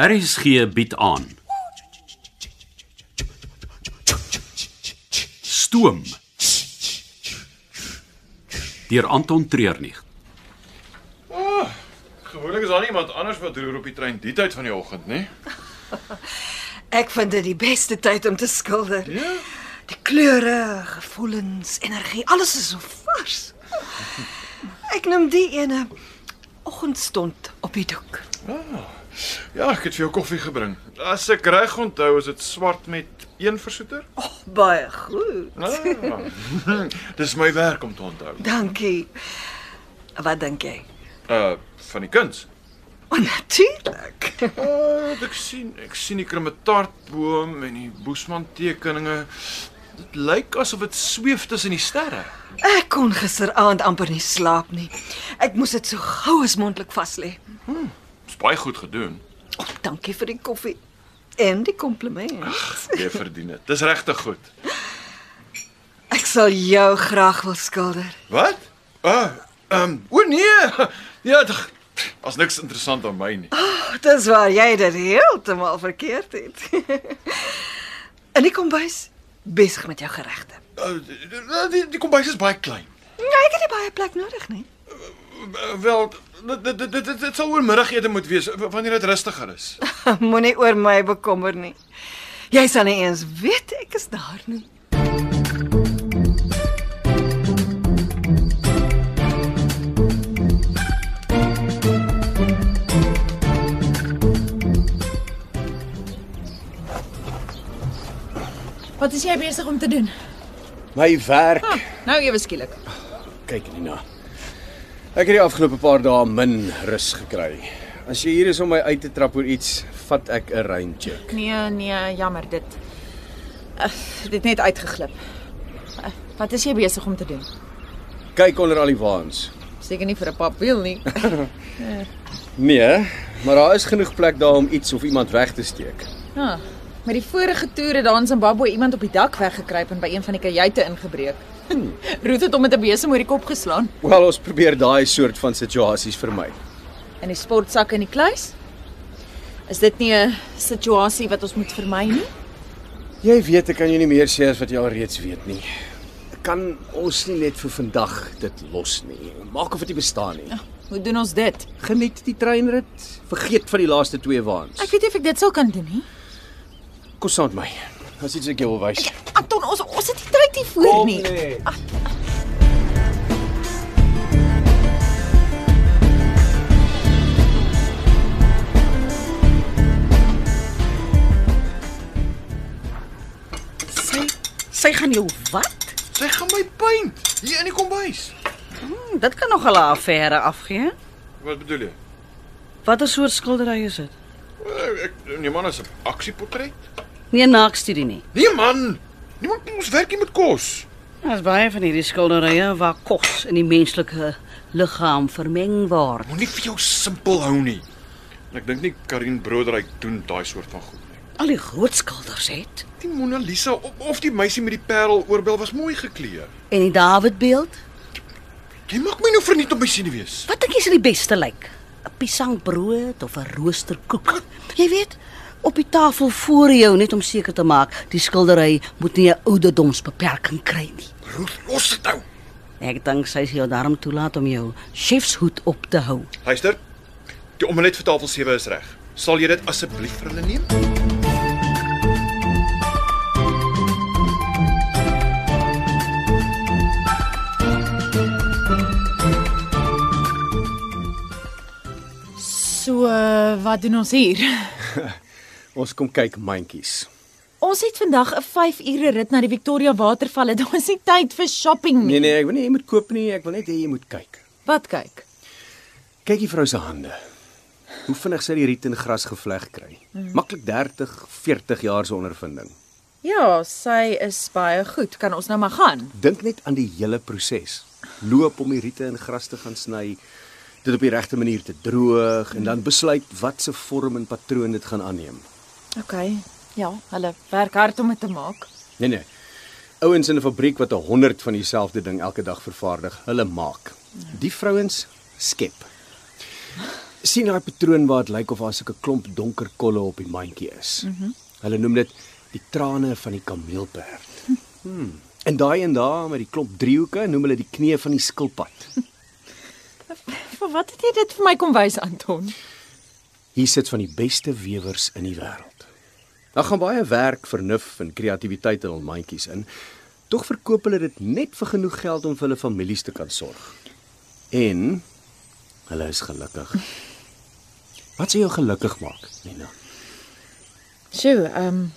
RSG bied aan. Stoom. Deur Anton Treurnig. Gewoonlik is daar nie iemand anders wat roer op die trein die tyd van die oggend nie. Ek vind dit die beste tyd om te skilder. Ja. Die kleure, gevoelens, energie, alles is so vars. Ek noem die ene oggendstond op die doek. Ja, ek het vir jou koffie gebring. As ek reg onthou, is dit swart met een versoeter. Baie goed. Ah, dis my werk om te onthou. Dankie. Wat dink jy? Uh van die kuns. Onnatuurlik. Uh, ek sien, ek sien die krometaartboom en die Boesman tekeninge. Dit lyk asof dit sweef tussen die sterre. Ek kon gisteraand amper nie slaap nie. Ek moes dit so gou as moontlik vas lê. Dis baie goed gedoen. Oh, dankie vir die koffie en die kompliment. Jy verdien dit. Dis regtig goed. Ek sal jou graag wil skilder. Wat? Ah, ehm um, o nee. Ja, dag. as niks interessant aan my nie. Dis waar jy dit heeltemal verkeerd het. en ek kom bys besig met jou geregte. Uh, die die kombuis is baie klein. Ja, ek het nie baie plek nodig nee. nie. Uh, Wel, dit dit- dit dit dit sal oormiddagete moet wees w- wanneer dit rustiger is. Moenie oor my bekommer nie. Jy sal nie eens weet ek is daar nie. Wat is jy besig om te doen? My werk, Nou ewe skielik. kyk nie na. Ek het die afgelope paar dae min rus gekry. As jy hier is om my uit te trap oor iets, vat ek 'n reintjie. Nee, nee, jammer dit. Uh, dit net uitgeglip. Uh, wat is jy besig om te doen? Kyk onder al die waans. Seker nie vir 'n papwiel nie. Nee, maar daar is genoeg plek daar om iets of iemand weg te steek. Ah, met die vorige toere daar in Zimbabwe iemand op die dak weggekruip en by een van die kajuite ingebreek. Roet het hom met 'n besem oor die kop geslaan Wel, ons probeer daai soort van situasies vermy. en die sportsak in die kluis. Is dit nie 'n situasie wat ons moet vermy nie? Jy weet ek kan jou nie meer sê as wat jy al reeds weet nie. Kan ons nie net vir vandag dit los nie. Maak of dit nie bestaan nie. Hoe doen ons dit? Geniet die treinrit. Vergeet van die laaste twee Ek waans. weet nie of ek dit sou kan doen nie. Kom saam met my. As iets ek jou wil wys. Anton, ons ons het nie tyd hiervoor nie. Sy sy gaan jou wat? Sy gaan my paint hier in die kombuis. Hm, dit kan nogal 'n affære afgee. Wat bedoel jy? Watter soort skildery is dit? Eh, Ek nee man, is 'n aksieportret. Nee, naakstudie nie. Nee man. Niemand ons werk hier met kos. Daar's baie van hierdie skilderye waar kos in die menslike liggaam vermeng word. Moenie vir jou simpel hou nie. En Ek dink nie Karin Broderyk doen daai soort van goed nie. Al die groot skilders het Die Mona Lisa of, of die meisie met die parel oorbel was mooi gekleed. en die Dawidbeeld. Jy maak my nou verniet op my senuwees. Wat dink jy sal die beste lyk? 'n Piesangbrood of 'n roosterkoek? Jy weet, op die tafel voor jou net om seker te maak die skildery moet nie 'n ouderdomsbeperking kry nie. Roet, los dit nou. Ek dink sy sal jou daarom toelaat om jou chefshoed op te hou. Luister. Die omelet vir tafel 7 is reg. Sal jy dit asseblief vir hulle neem? So, eh, wat doen ons hier? Ons kom kyk mandjies. Ons het vandag 'n 5 ure rit na die Victoria Watervalle. Daar is nie tyd vir shopping nie. Nee nee, ek wil nie jy moet koop nie, ek wil net hê jy moet kyk. Wat kyk? Kyk die vrou se hande. Hoe vinnig sy die riet in gras gevleg kry. Maklik 30, 40 jaar se ondervinding. Ja, sy is baie goed. Kan ons nou maar gaan? Dink net aan die hele proses. Loop om die riete in gras te gaan sny, dit op die regte manier te droog en dan besluit watse vorm en patroon dit gaan aanneem. OK. Ja, hulle werk hard om dit te maak. Nee nee. Ouens in 'n fabriek wat 100 van dieselfde ding elke dag vervaardig, hulle maak. Die vrouens skep. sien daai patroon waar dit lyk of daar sulke klomp donker kolle op die mandjie is. Mm -hmm. Hulle noem dit die trane van die kameelperd. Hmm. En daai en daar met die klomp driehoeke noem hulle die knie van die skilpad. Vir wat het jy dit vir my kom wys Anton? Hier sit van die beste wewers in die wêreld. Daar gaan baie werk, vernuf en kreatiwiteit in hul mandjies in. Tog verkoop hulle dit net vir genoeg geld om vir hulle families te kan sorg. En hulle is gelukkig. Wat sou jou gelukkig maak, Nina? Sjoe, ehm um,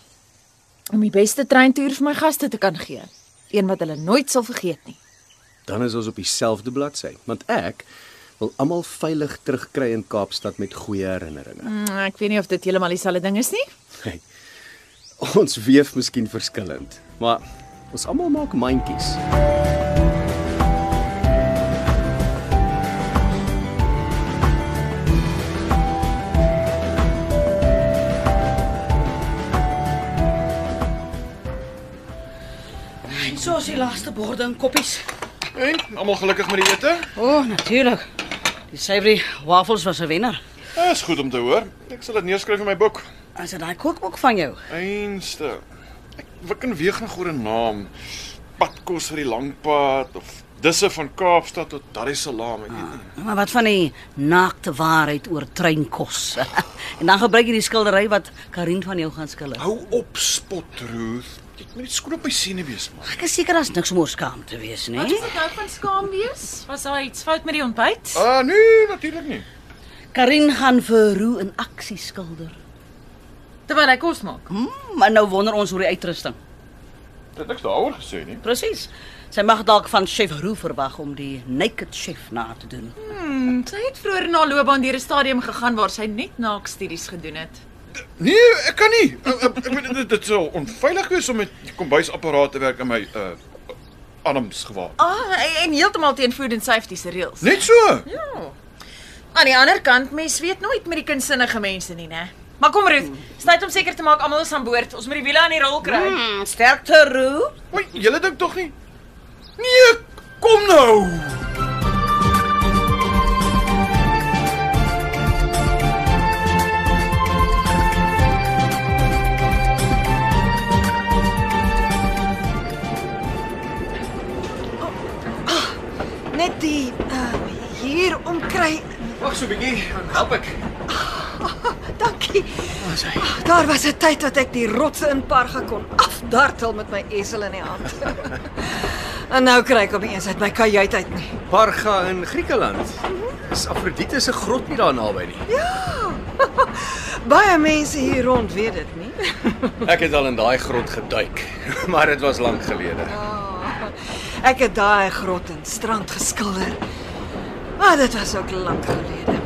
om die beste treintoer vir my gaste te kan gee, een wat hulle nooit sal vergeet nie. Dan is ons op dieselfde bladsy, want ek wil almal veilig terugkry in Kaapstad met goeie herinneringe. Mm, ek weet nie of dit heeltemal dieselfde ding is nie. Hey, ons weef miskien verskillend, maar ons almal maak mandjies. En so is die laaste borde en koppies. En almal gelukkig met die ete? O, oh, natuurlik. Die savory waffles was 'n wenner. Dis Ja, goed om te hoor. Ek sal dit neerskryf in my boek. As dit daai kookboek van jou. Einste. Ek wik en weeg nog oor 'n naam. Padkos vir die lang pad of disse van Kaapstad tot Dar es Salaam, ek weet nie. Maar wat van die naakte waarheid oor treinkos? en dan gebruik jy die skildery wat Karin van jou gaan skilder. Ah, Hou op spot, Ruth. Jy moet net skoon op my siene wees, man. Ek is seker daar's niks om oor skaam te wees nie. dit nou van skaam wees? Was daar iets fout met die ontbyt? Ah, nee, natuurlik nie. Karin gaan vir Roo in aksie skilder. Terwyl hy kos maak. Hmm, maar nou wonder ons oor die uitrusting. Dit het niks daaroor gesê nie. Presies. Sy mag dalk van chef Roo verwag om die naked chef na te doen. Hmm, sy het vroeër na loopbaan deur 'n stadium gegaan waar sy net naakstudies gedoen het. Nee, ek kan nie. Ek- ek- Ek bedoel dit- dit sou onveilig wees om met die kombuisapparate te werk in my uh arms gewaar. Ah, en- en heeltemal teen food and safety se reëls. Net so. Aan die ander kant, mens weet nooit met die kunsinnige mense nie, né? Maar kom Ruth, sny om seker te maak almal is aan boord. Ons moet die wiele aan die rol kry. Hmm, sterkte Roo. Oei, julle dink tog nie? Nee, kom nou. Net die uh, hier omkry. Wag so 'n bietjie, help ek. Dankie. Ah, Daar was 'n tyd dat ek die rotse in Parga kon afdartel met my esel in die hand. en nou kry ek opeens uit my kajuit uit nie. Parga in Griekeland. Is Afrodite se grot nie daar naby nie. Baie mense hier rond weet dit nie. Ek het al in daai grot geduik, maar dit was lank gelede. Ah, Ek het daai grot en strand geskilder. Maar dit was ook lank gelede.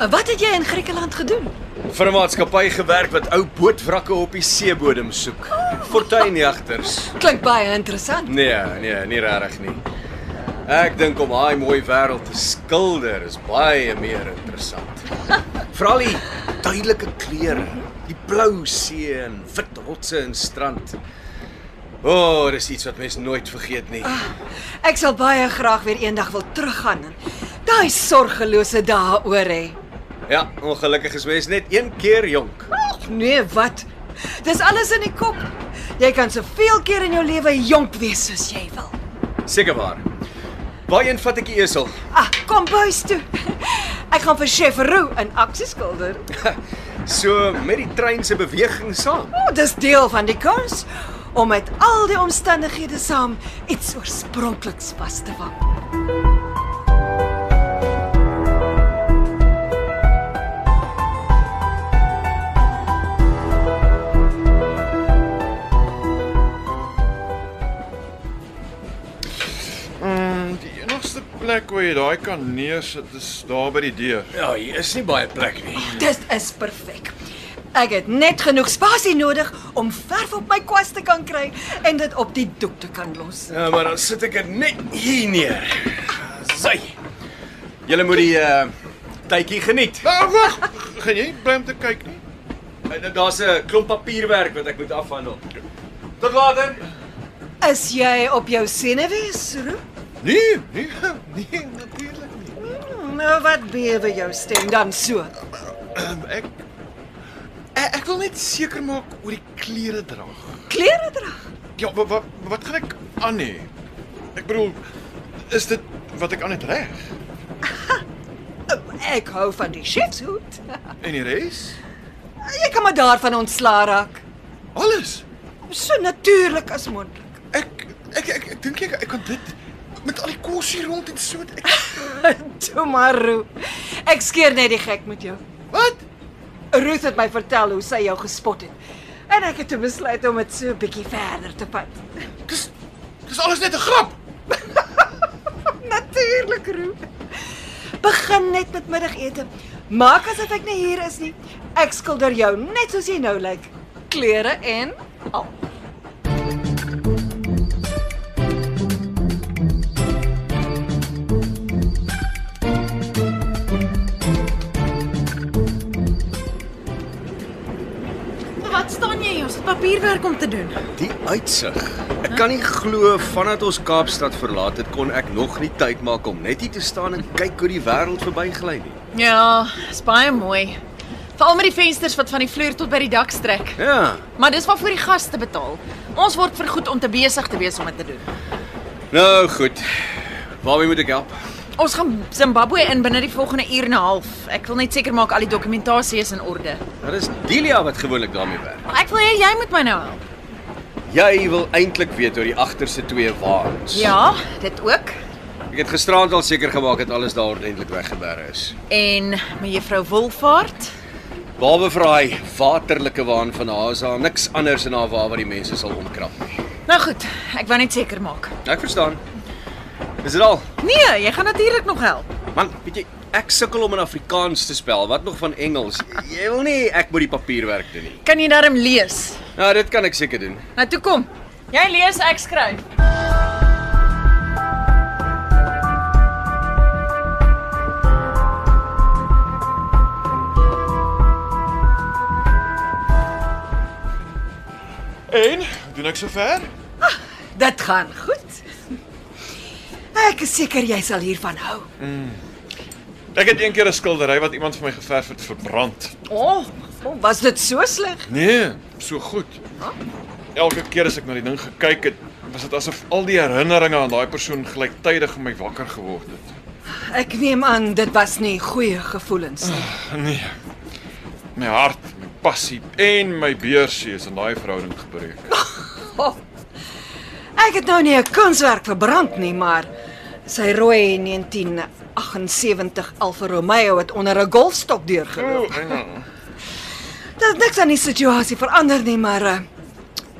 En Wat het jy in Griekeland gedoen? Vir 'n maatskappy gewerk wat ou bootwrakke op die seebodem soek. Fortuinjagters. Klink baie interessant. Nee, nee, nie regtig nie. Ek dink om daai mooi wêreld te skilder is baie meer interessant. Veral die duidelike kleure, die blou see en wit rotse en strand. O, oh, dis iets wat mens nooit vergeet nie. Ek sal baie graag weer eendag wil teruggaan en daai sorgelose dae oor hê. Ja, ongelukkig is mens net een keer jonk. Nee, wat? Dis alles in die kop. Jy kan soveel keer in jou lewe jonk wees soos jy wil. Seker waar. Waarheen vat ek die esel? Ah, kom bys toe. Ek gaan vir Chef Roo in aksie skilder. So met die trein se beweging saam. O, oh, dis deel van die kuns om met al die omstandighede saam iets oorspronkliks vas te vang. Mm, die enigste plek waar jy daai kan neersit is daar by die deur. Ja, hier is nie baie plek nie. Dit is perfek. Ek het net genoeg spasie nodig om verf op my kwas te kan kry en dit op die doek te kan los. Ja, maar dan sit ek dit net hier neer. Sy. Julle moet die uh tydjie geniet. Ah, wag. Gaan jy nie bly om te kyk nie? En Daar's 'n klomp papierwerk wat ek moet afhandel. Tot later. Is jy op jou senuwees, Roo? Nee, nee, nee, natuurlik nie. Hmm, Nou wat bewe jou stem dan so? Um, ek ek ek wil net seker maak oor die klere dra. Klere dra. Ja, wat wat, wat gaan ek aan hê? Ek bedoel, is dit wat ek aan het reg? Oh, Ek hou van die chefshoed. En die res? Jy kan maar daarvan ontslaa raak. Alles. So natuurlik as moontlik. Ek ek ek, ek dink ek, ek kan dit met al die kos hier rond en so ek Tomorrow. Ek skeer net die gek met jou. Wat? Ruth het my vertel hoe sy jou gespot het. En ek het toe besluit om dit so 'n bietjie verder te vat. Dis dis alles net 'n grap. Natuurlik, Ruth. Begin net met middagete. Maak asof ek nie hier is nie. Ek skilder jou net soos jy nou lyk. Klere en al. Wat staan jy? Ons het papierwerk om te doen. Die uitsig. Ek kan nie glo vandat ons Kaapstad verlaat het kon ek nog nie tyd maak om net hier te staan en kyk hoe die wêreld verbygly nie. Ja, is baie mooi. Veral met die vensters wat van die vloer tot by die dak strek. Ja. Maar dis waarvoor die gaste betaal. Ons word vergoed om te besig te wees om dit te doen. Nou goed. Waarmee moet ek help? Ons gaan Zimbabwe in binne die volgende uur en 'n half. Ek wil net seker maak al die dokumentasie is in orde. Daar is Delia wat gewoonlik daarmee werk. Maar ek wil hê jy moet my nou help. Jy wil eintlik weet oor die agterste twee waans. Ja, dit ook. Ek het gisteraand al seker gemaak dat alles daar ordentlik weggeberg is. En mevrou Wolfaart. Behalwe vir daai waterlike waan van Haza, niks anders in haar wa wat die mense sal omkrap nie. Nou goed, ek wou net seker maak. Ek verstaan. Is dit al? Nee, jy gaan natuurlik nog help. Man, weet jy, ek sukkel om in Afrikaans te spel, wat nog van Engels. Jy wil nie ek moet die papierwerk doen nie. Kan jy darm lees? Nou, dit kan ek seker doen. Nou toe kom. Jy lees, ek skryf. En doen ek sover? Dit gaan goed. Ek is seker jy sal hiervan hou. Ek het eendag 'n skildery wat iemand vir my geverf het verbrand. O, oh, was dit so sleg? Nee, so goed. Elke keer as ek na die ding gekyk het, was dit asof al die herinneringe aan daai persoon gelyktydig in my wakker geword het. Ek neem aan dit was nie goeie gevoelens nie. Nee. My hart, my passie en my beursie is in daai verhouding gebreek. Ek het nou nie 'n kunswerk verbrand nie, maar sy rooi 1978 Alfa Romeo het onder 'n golfstok deurgeloop. O, ja. Dit het niks aan die situasie verander nie, maar uh,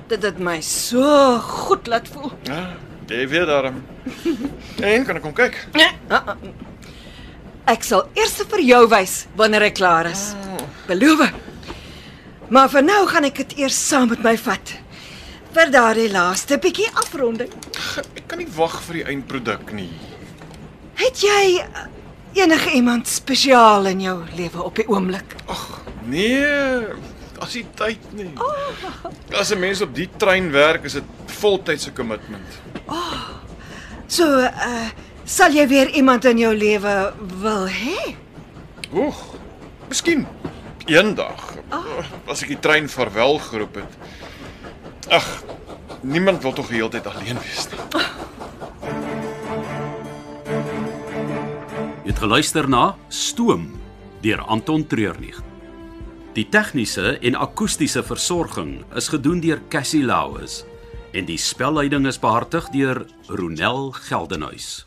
dit het my so goed laat voel. Ja, jy weet daarom. En kan ek kom kyk? Ek sal eers vir jou wys wanneer ek klaar is. Beloof. Maar vir nou gaan ek dit eers saam met my vat vir daardie laaste bietjie afronding. Ek kan nie wag vir die eindproduk nie. Het jy eh, enige iemand spesiaal in jou lewe op die oomblik? Nee, as jy tyd nie. As 'n mens op die trein werk, is dit voltydse kommitment. So, uh, sal jy weer iemand in jou lewe wil hê? Oeg. Miskien eendag as ek die trein vaarwel geroep het. Ag, niemand wil tog die hele tyd alleen wees nie. Jy het geluister na Stoom deur Anton Treurnig. Die tegniese en akoestiese versorging is gedoen deur Cassie Lauis en die spelleiding is behartig deur Ronel Geldenhuys.